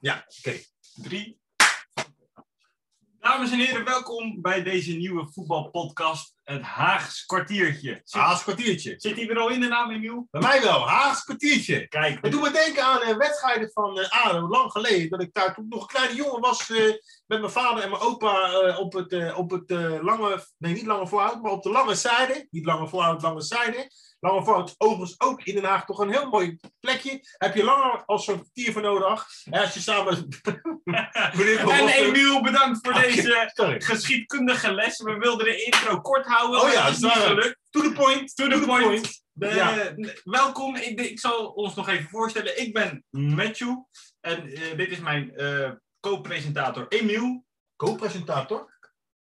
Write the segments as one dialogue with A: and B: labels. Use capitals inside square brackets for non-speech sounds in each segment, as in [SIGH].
A: Ja, oké. Drie. Dames en heren, welkom bij deze nieuwe voetbalpodcast, het Haags kwartiertje. Zit,
B: Haags kwartiertje.
A: zit die er al in de naam, Emiel?
B: Bij mij wel, Haags kwartiertje.
A: Kijk,
B: Het doet me denken aan eh, wedstrijden van eh ADO, lang geleden. Dat ik daar toen ik nog een kleine jongen was eh, met mijn vader en mijn opa eh, op het, eh, op het eh, lange, nee niet lange voorhoud, maar op de lange zijde. Niet lange voorhoud, lange zijde. Lange voorhoud is overigens ook in Den Haag toch een heel mooi plekje. Heb je langer als zo'n kwartier voor nodig. En als je samen... [LAUGHS] Meneer Van
A: en
B: Rossum-
A: Emiel, bedankt voor
B: Oké.
A: deze
B: Sorry.
A: geschiedkundige les. We wilden de intro kort houden,
B: Oh
A: maar
B: ja,
A: dat is niet
B: dat is waar.
A: gelukt.
B: To the point.
A: To the point. Eh,
B: Ja.
A: Welkom, ik, ik zal ons nog even voorstellen. Ik ben Matthew en eh, dit is mijn eh, co-presentator Emiel.
B: Co-presentator?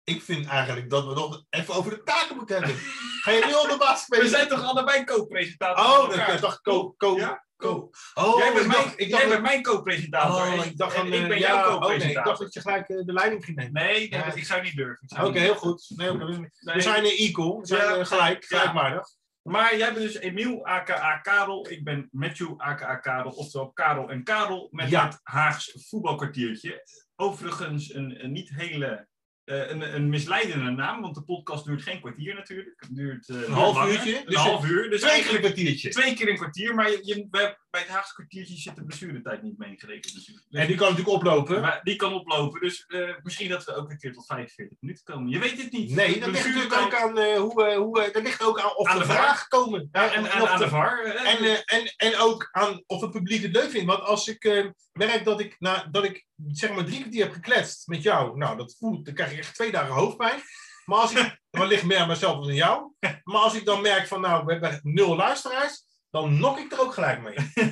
B: Ik vind eigenlijk dat we nog even over de taken moeten hebben. Ga je nu al de baas spelen?
A: We zijn toch allebei co-presentator?
B: Oh,
A: van
B: dat
A: elkaar?
B: ik dacht co, co,
A: Ja?
B: co. Oh,
A: jij bent
B: ik
A: mijn,
B: dacht, ik
A: jij
B: dacht,
A: bent mijn
B: dat-
A: co-presentator.
B: oh,
A: en-
B: ik dacht
A: en
B: van,
A: ik ben
B: eh,
A: jouw
B: ja, oh, nee, ik dacht
A: co-presentator.
B: dat je gelijk eh, de leiding ging nemen.
A: nee, nee,
B: Ja.
A: dat- ik zou niet durven. Ik zou
B: Oké,
A: niet
B: heel
A: durven.
B: goed. Nee, oké, we-
A: Nee.
B: We zijn eh, equal, we zijn
A: Ja.
B: eh, gelijk,
A: Ja.
B: gelijkwaardig.
A: Maar jij bent dus Emiel, aka Karel. Ik ben Matthew, aka Karel. Oftewel Karel en Karel met
B: Ja.
A: het Haags voetbalkwartiertje. Overigens een, een niet hele... eh, een, een misleidende naam, want de podcast duurt geen kwartier natuurlijk. Het duurt eh,
B: Een half
A: langer.
B: uurtje,
A: Een
B: dus
A: half uur. Dus
B: Dus eigenlijk
A: eigenlijk
B: een kwartiertje.
A: twee keer een kwartier. Maar je, je- bij bij het Haagse kwartiertje zit de blessuretijd niet meegerekend natuurlijk. Dus-
B: En die kan natuurlijk oplopen.
A: Maar die kan oplopen, dus eh, misschien dat we ook een keer tot 45 minuten komen. Je weet het niet.
B: Nee, dat
A: De
B: ligt natuurlijk
A: blessuretijd-
B: ook aan eh, hoe, eh, hoe eh, dat ligt ook aan of
A: Aan
B: de
A: de VAR.
B: vragen komen.
A: Ja,
B: Eh,
A: en,
B: of-
A: en
B: of
A: aan
B: de-
A: de VAR. eh,
B: En, eh, en, en ook aan of het publiek het leuk vindt. Want als ik eh, merk dat ik, na, dat ik zeg maar drie kwartier heb gekletst met jou, nou dat voelt, dan krijg ik echt twee dagen hoofdpijn. Maar als ik, dan ligt meer aan mezelf dan aan jou. Maar als ik dan merk van nou, we hebben nul luisteraars, dan nok ik er ook gelijk mee.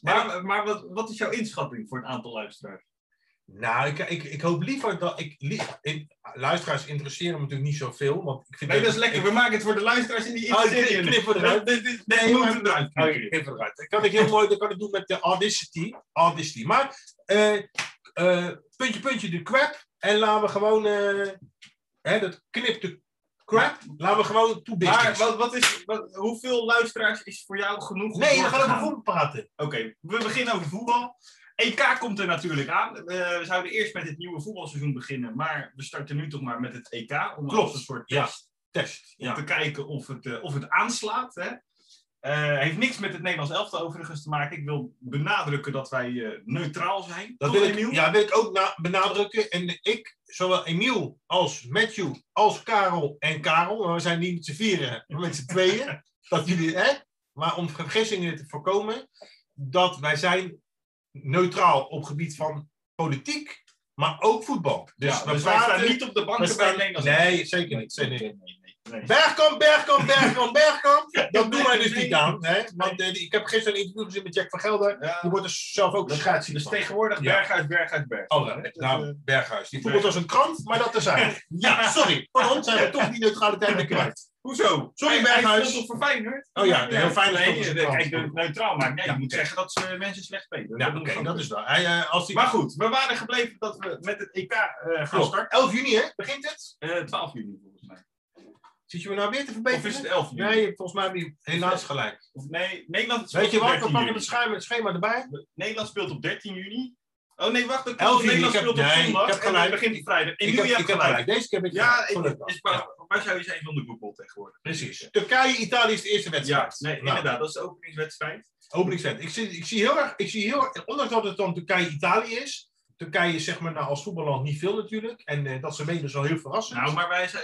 A: maar maar wat, wat is jouw inschatting voor het aantal luisteraars?
B: Nou, ik, ik, ik hoop liever dat ik. li- ik- luisteraars interesseren me natuurlijk niet zoveel. Want ik vind ik-
A: We maken het voor de luisteraars in die
B: Oh, ik knip- knip eruit.
A: Dit dit- dit
B: Nee,
A: moet
B: maar-
A: eruit.
B: Oké, even eruit. Dat kan ik heel mooi dat kan ik doen met de audacity. audacity. Maar eh, eh, puntje, puntje, de crap. En laten we gewoon eh, hè, dat knipte crap. Laten we gewoon toe
A: Maar
B: business.
A: wat, wat is, wat, hoeveel luisteraars is voor jou genoeg? om
B: nee,
A: door
B: we
A: te
B: gaan over
A: gaan?
B: voetbal praten.
A: Oké, we beginnen over voetbal. EK komt er natuurlijk aan. Eh, we zouden eerst met het nieuwe voetbalseizoen beginnen, maar we starten nu toch maar met het EK. Om
B: Klopt,
A: als een soort
B: ja.
A: test
B: Test.
A: om
B: Ja.
A: te kijken of het, eh, of het aanslaat. Hè? Eh, heeft niks met het Nederlands elftal overigens te maken. Ik wil benadrukken dat wij eh, neutraal zijn.
B: Dat
A: Toch,
B: wil ik,
A: Emiel?
B: ja, wil ik ook na- benadrukken. En ik, zowel Emiel als Matthew, als Karel en Karel, maar we zijn niet met z'n vieren, maar met z'n
A: [LAUGHS]
B: tweeën, dat jullie, hè, maar om vergissingen te voorkomen, dat wij zijn neutraal op gebied van politiek, maar ook voetbal. Dus
A: Ja,
B: we
A: dus wij
B: praten
A: staan niet op de
B: we
A: banken bij
B: staan-
A: het Nederlands
B: Nee, zeker niet.
A: elftal.
B: zeker niet.
A: nee, nee, nee, nee.
B: Bergkamp, Bergkamp, Bergkamp,
A: [LAUGHS]
B: Bergkamp. Dat doen wij dus
A: Nee.
B: niet aan. Hè? Want eh, ik heb gisteren een interview gezien met Jack van Gelder.
A: Ja,
B: Die wordt er zelf ook
A: dat
B: schaatsziek
A: Dus
B: van.
A: tegenwoordig
B: Ja.
A: berg uit berg uit berg.
B: Oh,
A: Dat, eh,
B: nou, Berghuis. Die voetbalt als een krant, maar dat terzijde. [LAUGHS]
A: Ja,
B: Ja, sorry. Voor ons zijn we toch die neutraliteit [LAUGHS] weer kwijt.
A: Hoezo?
B: Sorry,
A: Hij-
B: Berghuis.
A: Hij speelt toch voor Feyenoord?
B: Oh ja, heel Feyenoord
A: Nee,
B: speelt voor
A: eh,
B: Feyenoord.
A: kijk, de- neutraal maken. Nee,
B: Ja,
A: je moet
B: oké.
A: zeggen dat ze mensen slecht spelen.
B: Nou,
A: moet
B: oké,
A: gewoon.
B: dat is wel. Hij, eh, als hij...
A: Maar goed, we waren gebleven dat we met het EK eh, gaan
B: Klopt.
A: starten.
B: 11 juni, hè? Begint het?
A: Eh, 12 juni volgens mij.
B: Zit je me nou weer te
A: Of is het
B: verbeteren?
A: 11 juni?
B: Nee, je hebt volgens mij weer helaas gelijk.
A: Of nee, Nederland speelt
B: Weet je
A: op
B: wat? We
A: 13
B: pakken
A: juni.
B: het schema, het schema erbij.
A: Nederland speelt op 13 juni. Oh nee, wacht. dat
B: 11
A: klopt.
B: juni,
A: Nederland
B: ik heb-
A: speelt op
B: nee,
A: zondag.
B: ik heb
A: en dan
B: gelijk.
A: begint het vrijdag. En
B: Ik
A: nu
B: heb,
A: heb
B: ik heb gelijk. Deze keer heb ik
A: Ja,
B: gelijk.
A: ik,
B: Gelukkig.
A: is, waar,
B: Ja,
A: waar zou je zijn van de voetbal tegenwoordig?
B: Precies. Turkije, Italië is de eerste
A: Ja,
B: wedstrijd.
A: nee,
B: Nou,
A: inderdaad. Dat is de openingswedstrijd.
B: Openingswedstrijd. Ik zie, ik zie heel erg, ik zie heel, ondanks dat het dan Turkije-Italië is. Turkije is zeg maar nou, als voetballand niet veel natuurlijk. En eh, dat ze meedoen is al heel verrassend.
A: Nou, maar wij zijn...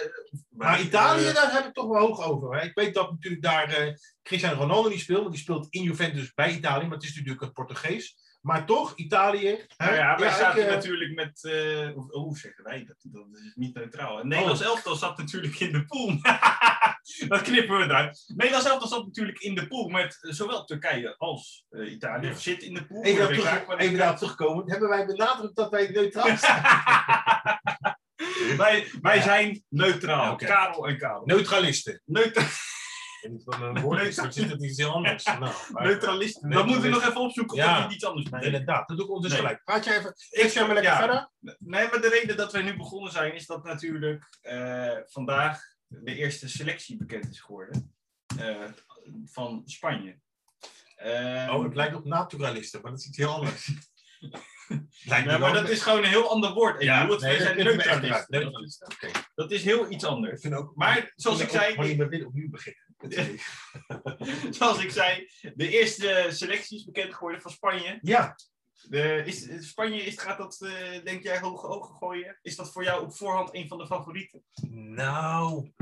B: Maar
A: wij,
B: Italië,
A: eh,
B: daar heb ik toch wel hoog over. Hè? Ik weet dat natuurlijk daar eh, Cristiano Ronaldo niet speelt, want die speelt in Juventus bij Italië, maar het is natuurlijk een Portugees. Maar toch, Italië. hè?
A: nou ja, wij
B: ik,
A: zaten
B: eh,
A: natuurlijk met... eh, hoe- hoe zeggen wij dat? Dat is niet neutraal. En Nederlands elftal zat natuurlijk in de pool. [LAUGHS] dat knippen we eruit. Nederlands elftal zat natuurlijk in de pool met eh, zowel Turkije als eh, Italië.
B: Ja.
A: Of zit in de pool.
B: Even,
A: Ik
B: daar
A: raak
B: terug,
A: maar-
B: even daarop terugkomen. Hebben wij benadrukt dat wij neutraal zijn?
A: Wij, wij
B: Ja.
A: zijn neutraal.
B: Oké.
A: Karel en Karel.
B: [LAUGHS] Neutralisten.
A: Neutra-
B: En niet van een woord is, maar zit het iets heel [LAUGHS] anders. Nou, maar-
A: neutralisten. Dat
B: Neutralisten.
A: moeten we nog even opzoeken
B: Ja.
A: of het iets anders
B: Nee,
A: betekent.
B: Inderdaad, dat doe ik ondertussen
A: Nee.
B: gelijk. Praat je even, ik zeg maar lekker
A: Ja.
B: verder.
A: Nee, maar de reden dat wij nu begonnen zijn is dat natuurlijk eh, vandaag de eerste selectie bekend is geworden eh, van Spanje. Ehm,
B: [LAUGHS]
A: Eh,
B: Oh, het lijkt op naturalisten, maar dat is iets heel anders. Lijkt me
A: Ja, maar
B: wel-
A: dat is gewoon een heel ander woord. Ja, dat,
B: nee,
A: wij
B: dat
A: zijn
B: kunnen we echt
A: neutralisten.
B: eruit.
A: Dat, is-
B: Oké.
A: dat is heel iets anders.
B: Ik vind ook-
A: Maar zoals ik
B: vind ook
A: zei- [LAUGHS]
B: Gewoon niet meer willen opnieuw beginnen. natuurlijk.
A: Zoals ik zei, de eerste selectie is bekend geworden van Spanje.
B: Ja,
A: De, is, Spanje is, gaat dat, eh, denk jij, hoge ogen gooien? Is dat voor jou op voorhand een van de favorieten?
B: nou.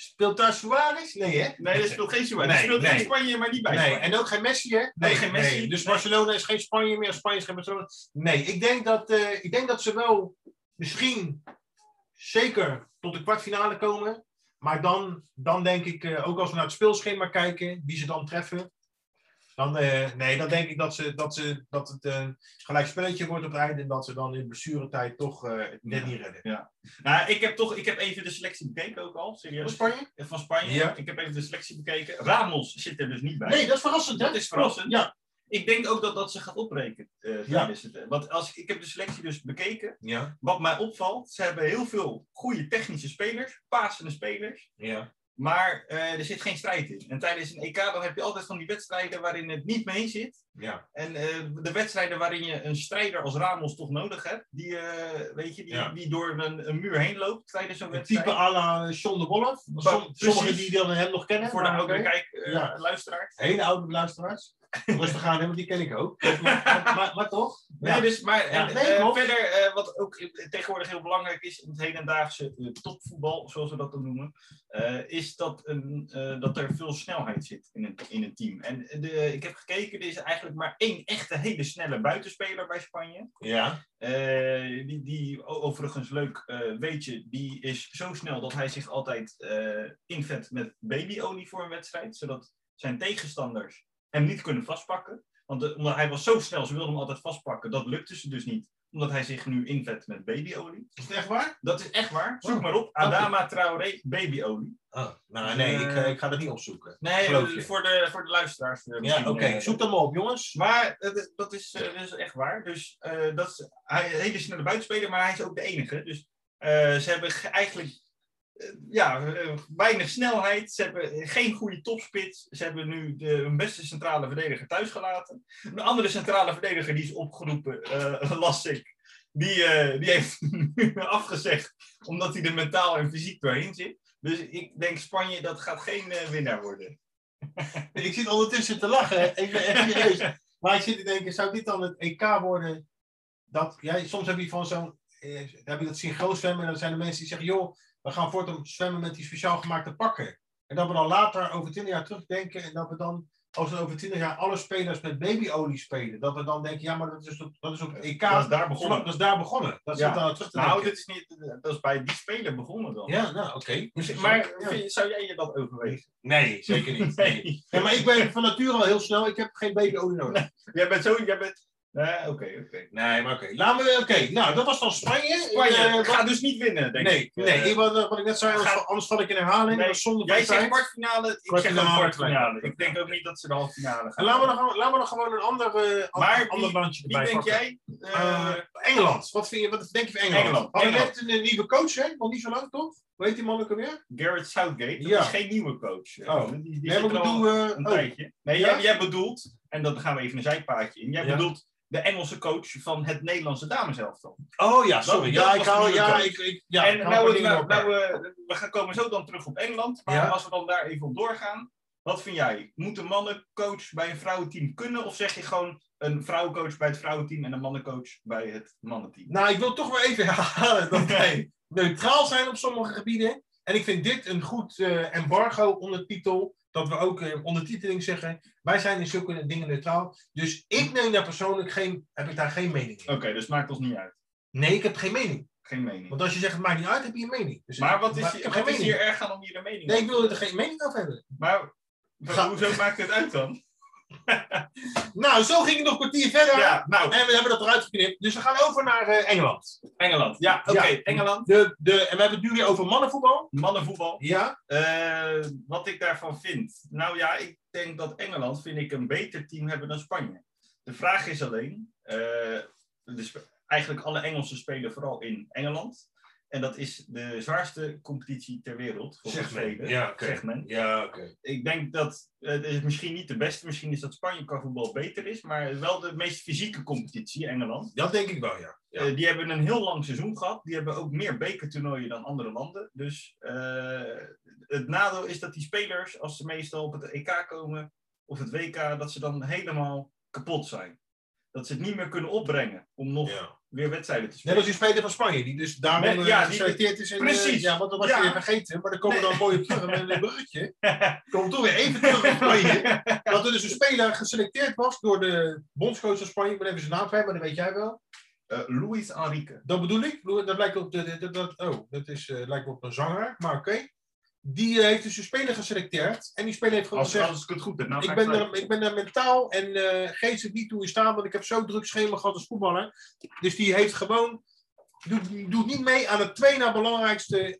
B: Speelt daar Suarez? Nee, hè?
A: Nee, dat speelt geen Suarez.
B: Nee,
A: dat speelt in
B: nee.
A: Spanje, maar niet bij
B: Nee,
A: Spanje.
B: en ook geen Messi, hè?
A: geen Messi.
B: Dus
A: Nee.
B: Barcelona is geen Spanje meer, Spanje is geen Barcelona. Nee, ik denk dat, eh, ik denk dat ze wel misschien zeker tot de kwartfinale komen. Maar dan, dan denk ik, eh, ook als we naar het speelschema kijken, wie ze dan treffen. Dan, eh, nee, dan denk ik dat, ze, dat, ze, dat het een gelijk spelletje wordt op het einde. En dat ze dan in blessuretijd toch eh, het net niet redden.
A: Nou, ik heb toch ik heb even de selectie bekeken ook al,
B: Voor
A: serieus.
B: Spanje?
A: Van Spanje.
B: Oh, Ja.
A: Ik heb even de selectie bekeken. Ramos zit er dus niet bij.
B: Nee, dat is verrassend, hè?
A: Dat is verrassend.
B: Ja.
A: Ik denk ook dat dat ze gaat opbreken. eh,
B: Ja.
A: tijdens het, eh, Want als, ik- ik heb de selectie dus bekeken.
B: Ja,
A: Wat mij opvalt, ze hebben heel veel goede technische spelers, pasende spelers,
B: ja.
A: maar eh, er zit geen strijd in. En tijdens een EK dan heb je altijd van die wedstrijden waarin het niet mee zit.
B: ja.
A: En eh, de wedstrijden waarin je een strijder als Ramos toch nodig hebt, die, eh, weet je, die,
B: Ja.
A: die door een, een muur heen loopt tijdens zo'n
B: Een
A: wedstrijd.
B: type à la John de Wolf. Som-
A: precies.
B: Sommigen die dan hem nog kennen.
A: Voor de
B: maar
A: oude
B: oké.
A: kijk, eh,
B: Ja.
A: luisteraar.
B: Hele oude [LAUGHS] luisteraars. Rustig aan, hè, want die ken ik [LAUGHS] ook. Maar, maar, maar, maar toch?
A: Nee,
B: Ja.
A: dus, maar en,
B: Ja, nee,
A: eh,
B: klopt.
A: verder, eh, wat ook eh, tegenwoordig heel belangrijk is in het hedendaagse eh, topvoetbal, zoals we dat dan noemen, eh, is dat, een, eh, dat er veel snelheid zit in een, in een team. En de, ik heb gekeken, er is eigenlijk maar één echte hele snelle buitenspeler bij Spanje.
B: ja.
A: Eh, die, die o- overigens leuk eh, weetje, die is zo snel dat hij zich altijd eh, invet met babyolie voor een wedstrijd, zodat zijn tegenstanders hem niet kunnen vastpakken. Want eh, omdat hij was zo snel, ze wilden hem altijd vastpakken, dat lukte ze dus niet, omdat hij zich nu invet met babyolie.
B: Is het echt waar?
A: Dat is echt waar, zoek
B: Oh,
A: maar op, Adama Traoré babyolie.
B: Oh, nou nee, ik, eh, ik ga dat niet opzoeken.
A: Nee,
B: Geloof
A: eh,
B: je.
A: voor de, voor de luisteraars. eh,
B: Ja,
A: misschien,
B: oké.
A: eh,
B: Zoek dat maar op, jongens.
A: Maar eh, dat- dat is, eh, dat is echt waar. Dus eh, dat is, hij is een hele snelle buitenspeler, maar hij is ook de enige. Dus eh, ze hebben ge- eigenlijk eh, ja, eh, weinig snelheid. Ze hebben geen goede topspits. Ze hebben nu de, hun beste centrale verdediger thuisgelaten. Een andere centrale verdediger die is opgeroepen, eh [LAUGHS] las ik. Die, eh, die heeft [LAUGHS] nu afgezegd, omdat hij er mentaal en fysiek doorheen zit. Dus ik denk Spanje, dat gaat geen eh, winnaar worden.
B: Ik zit ondertussen te lachen. Ik ben echt serieus. Maar ik zit te denken, zou dit dan het EK worden? Dat, ja, soms heb je van zo'n... eh, dan heb je dat synchroon zwemmen. En dan zijn er mensen die zeggen, joh, we gaan voortaan zwemmen met die speciaal gemaakte pakken. En dat we dan later over 20 jaar terugdenken. En dat we dan, als we over 20 jaar alle spelers met babyolie spelen. Dat we dan denken, ja, maar dat is op, dat is op het EK.
A: Dat is daar begonnen.
B: Begonnen. Dat is daar begonnen. Dat
A: Ja.
B: zit daar terug te
A: Nou,
B: denken.
A: dit is niet, dat is bij die speler begonnen dan.
B: Ja, nou, oké.
A: Dus- Maar
B: Ja.
A: vind- zou jij je dat overwegen?
B: Nee, zeker niet.
A: [LAUGHS]
B: Nee. Ja, maar ik ben van nature al heel snel. Ik heb geen babyolie nodig.
A: Jij bent zo, jij bent... Eh, Oké, oké.
B: Nee, maar oké. Laten we... Oké, nou, dat was dan Spanje.
A: Spanje
B: Eh, wat-
A: gaat dus niet winnen, denk
B: nee,
A: ik.
B: nee.
A: Eh,
B: ik- wat, wat ik net zei, anders-
A: gaat-
B: anders val ik in herhaling.
A: Nee,
B: dat is zonde van
A: jij
B: tijd.
A: zegt kwartfinale, ik zeg
B: Kwartfinale,
A: ook kwartfinale. Ik
B: kwartfinale.
A: denk ook niet dat ze de halve finale
B: En
A: gaan.
B: laten we, nog, laten we nog gewoon een ander, eh,
A: Maar
B: ander-
A: wie-
B: ander landje
A: Wie
B: erbij
A: denk
B: pakken.
A: jij? Eh,
B: Eh, Engeland. Wat, vind je, wat denk je van Engeland?
A: Engeland,
B: Hadden
A: Engeland.
B: net een, eh, nieuwe coach, hè? Nog niet zo lang, toch? Hoe heet die man ook alweer?
A: Garrett Southgate, dat
B: ja.
A: is geen nieuwe coach. Eh,
B: Oh.
A: Die, die
B: Nee,
A: zit
B: maar ik
A: er al
B: bedoel... eh,
A: een
B: oh,
A: tijdje. Nee,
B: Ja?
A: jij, jij bedoelt, en dan gaan we even een zijpaadje in, jij
B: Ja.
A: bedoelt de Engelse coach van het Nederlandse dameselftal.
B: Oh ja, sorry.
A: Dat-
B: ja,
A: dat
B: ik
A: was
B: hou...
A: de
B: Ja,
A: coach.
B: ik, ik, ja, ik
A: en
B: hou
A: nou,
B: van dingen
A: nou,
B: elkaar.
A: nou, eh, we gaan komen zo dan terug op Engeland. Maar
B: Ja.
A: als we dan daar even op doorgaan. Wat vind jij? Moet een mannencoach bij een vrouwenteam kunnen? Of zeg je gewoon een vrouwencoach bij het vrouwenteam en een mannencoach bij het mannenteam?
B: Nou, ik wil toch wel even [LAUGHS] herhalen dat wij neutraal zijn op sommige gebieden. En ik vind dit een goed eh, embargo ondertitel. Dat we ook eh, ondertiteling zeggen. Wij zijn in zulke dingen neutraal. Dus ik neem daar persoonlijk geen, heb ik daar geen mening in.
A: Oké, dus maakt ons niet uit.
B: Nee, ik heb geen mening.
A: Geen mening.
B: Want als je zegt het maakt niet uit, heb je een mening. Dus
A: Maar wat is,
B: ik heb
A: wat
B: geen
A: is
B: mening.
A: hier erg aan om hier een mening
B: Nee,
A: over
B: ik
A: te
B: wil er
A: hebben?
B: geen mening over hebben.
A: Maar maar
B: Ga-
A: hoezo maakt het uit dan?
B: Nou, zo ging het nog een kwartier verder.
A: Ja, nou,
B: En we hebben dat eruit geknipt. Dus we gaan over naar eh, Engeland.
A: Engeland. Ja, oké,
B: Ja.
A: Engeland.
B: De, de, en we hebben het nu weer over mannenvoetbal.
A: Mannenvoetbal.
B: Ja.
A: Eh, wat ik daarvan vind. Nou ja, ik denk dat Engeland vind ik een beter team hebben dan Spanje. De vraag is alleen, eh, de sp- eigenlijk alle Engelsen spelen vooral in Engeland. En dat is de zwaarste competitie ter wereld, volgens
B: Zeg
A: velen,
B: maar. Ja, oké.
A: zegt men.
B: Ja, oké.
A: Ik denk dat eh, het is misschien niet de beste, misschien is dat Spanje qua voetbal beter is, maar wel de meest fysieke competitie, Engeland.
B: Dat denk ik wel, ja. ja.
A: Eh, die hebben een heel lang seizoen gehad. Die hebben ook meer bekertoernooien dan andere landen. Dus eh, het nadeel is dat die spelers, als ze meestal op het EK komen of het WK, dat ze dan helemaal kapot zijn. Dat ze het niet meer kunnen opbrengen om nog
B: ja.
A: weer wedstrijden te
B: Net
A: spelen.
B: als die speler van Spanje, die dus daarom
A: Met-
B: eh,
A: ja, die-
B: geselecteerd is. En, eh,
A: Precies.
B: ja, want dat was
A: Ja.
B: weer vergeten. Maar dan komen we dan mooi op terug met een bruggetje. Komen we toch weer even terug op Spanje. [LAUGHS] Dat er dus een speler geselecteerd was door de bondscoach van Spanje. Ik ben even zijn naam kwijt, maar dat weet jij wel.
A: Eh, Luis Enrique.
B: Dat bedoel ik. Dat lijkt op, de, de- de- dat, oh, dat is, eh, lijkt op een zanger, maar oké. Die eh, heeft dus een speler geselecteerd. En die speler heeft gewoon
A: Als,
B: gezegd...
A: als ik het goed heb. Nou ga
B: ik, ben
A: gelijk-
B: daar, ik ben daar mentaal en eh geestelijk niet toe in staat, want ik heb zo'n druk schema gehad als voetballer. Dus die heeft gewoon, doet, doet niet mee aan het twee na belangrijkste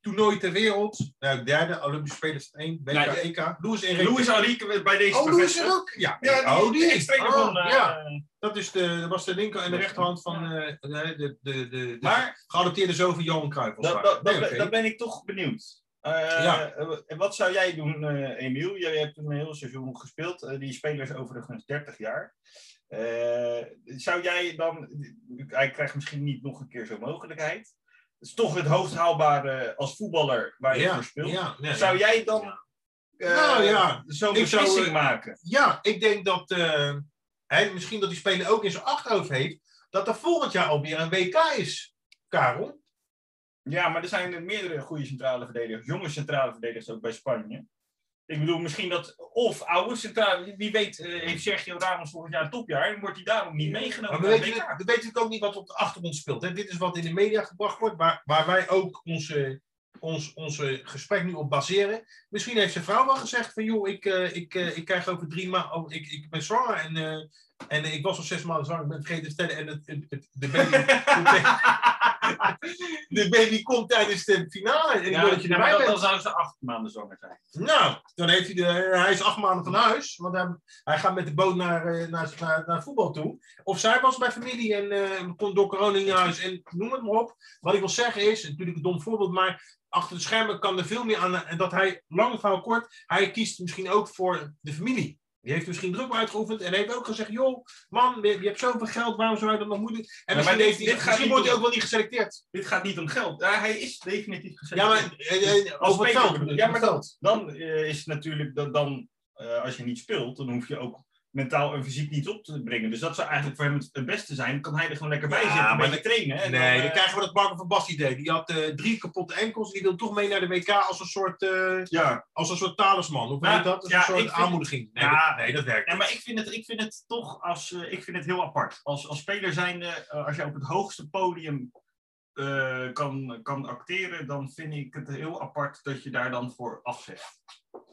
B: toernooi ter wereld. Nou, derde, Olympische Spelen is het één, WK,
A: Ja, ja.
B: EK. Louis en
A: Luis Enrique werd bij deze
B: Oh, Louis is
A: bevestigd.
B: er ook? Ja,
A: Ja, die,
B: oh,
A: die is trainer
B: Ah,
A: van... eh,
B: ja. Dat, is de, dat was de linker en de rechterhand van eh, de, de, de, de,
A: Maar-
B: geadopteerde zoon van Johan Cruijff. als
A: Dat,
B: het
A: dat,
B: ware.
A: dat,
B: Nee,
A: ben-
B: oké.
A: dat ben ik toch benieuwd. Eh,
B: Ja.
A: eh, En wat zou jij doen, eh Emiel? Jij hebt een heel seizoen gespeeld. Eh, die speler is overigens 30 jaar. Eh, zou jij dan... Hij krijgt misschien niet nog een keer zo'n mogelijkheid. Het is toch het hoogst haalbare eh, als voetballer waar je
B: ja,
A: voor speelt.
B: ja, nee,
A: zou jij dan
B: Ja.
A: eh,
B: Nou ja,
A: zo'n
B: ik zou, eh,
A: beslissing maken?
B: Ja, ik denk dat eh, hij misschien dat die speler ook in zijn achterhoofd heeft dat er volgend jaar alweer een WK is, Karel.
A: Ja, maar er zijn er meerdere goede centrale verdedigers. Jonge centrale verdedigers ook bij Spanje. Ik bedoel, misschien dat... Of oude centrale... Wie weet eh, heeft Sergio Ramos volgend jaar een topjaar... en wordt hij daarom niet meegenomen.
B: Maar we
A: naar
B: weten,
A: het WK.
B: we weten natuurlijk ook niet wat op de achtergrond speelt. Hè? Dit is wat in de media gebracht wordt, waar, waar wij ook onze, ons onze gesprek nu op baseren. Misschien heeft zijn vrouw wel gezegd van, joh, ik, eh, ik, eh, ik krijg over drie maanden, oh, ik, ik ben zwanger en, eh, en ik was al zes maanden zwanger, ik ben vergeten te stellen en het, het, het- de, baby,
A: [LAUGHS]
B: de baby komt tijdens de finale. En ik wil dat je
A: ja,
B: erbij
A: maar dan,
B: bent.
A: dan zou ze acht maanden zwanger zijn.
B: Nou, dan heeft hij de, hij is acht maanden van huis, want hij, hij gaat met de boot naar, eh, naar, naar, naar voetbal toe. Of zij was bij familie en eh, komt door corona niet naar huis en noem het maar op. Wat ik wil zeggen is, natuurlijk een dom voorbeeld, maar achter de schermen kan er veel meer aan. En dat hij, lang verhaal kort, hij kiest misschien ook voor de familie. Die heeft misschien druk uitgeoefend en heeft ook gezegd, joh, man, je je hebt zoveel geld, waarom zou je dat nog moeten? En
A: Ja,
B: misschien,
A: maar dit-
B: heeft hij-
A: dit gaat
B: misschien
A: niet
B: wordt hij
A: om-
B: ook wel niet geselecteerd.
A: Dit gaat niet om geld. Ja, hij is definitief
B: Ja,
A: geselecteerd.
B: maar eh, eh,
A: Als
B: over het
A: speler
B: veld.
A: bedoel- ja, maar
B: Over het
A: Dan eh, is het natuurlijk... Dat, dan, eh, als je niet speelt, dan hoef je ook mentaal en fysiek niet op te brengen. Dus dat zou eigenlijk voor hem het- het beste zijn. Dan kan hij er gewoon lekker bij
B: Ja,
A: zitten, een
B: maar
A: beetje trainen. en
B: nee,
A: dan,
B: dan
A: eh,
B: krijgen we dat Marco van Basten idee. Die had eh, drie kapotte enkels. Die wil toch mee naar de WK als een soort, eh,
A: ja,
B: als een soort talisman. Hoe
A: Ja,
B: heet dat? Als
A: ja,
B: een
A: ik
B: soort
A: vind-
B: aanmoediging. Nee,
A: Ja.
B: dat, nee, dat werkt
A: Ja,
B: niet.
A: maar ik vind het, ik vind het toch als, eh, ik vind het heel apart. Als, als speler zijnde, eh, als je op het hoogste podium eh, kan, kan acteren, dan vind ik het heel apart dat je daar dan voor afzegt.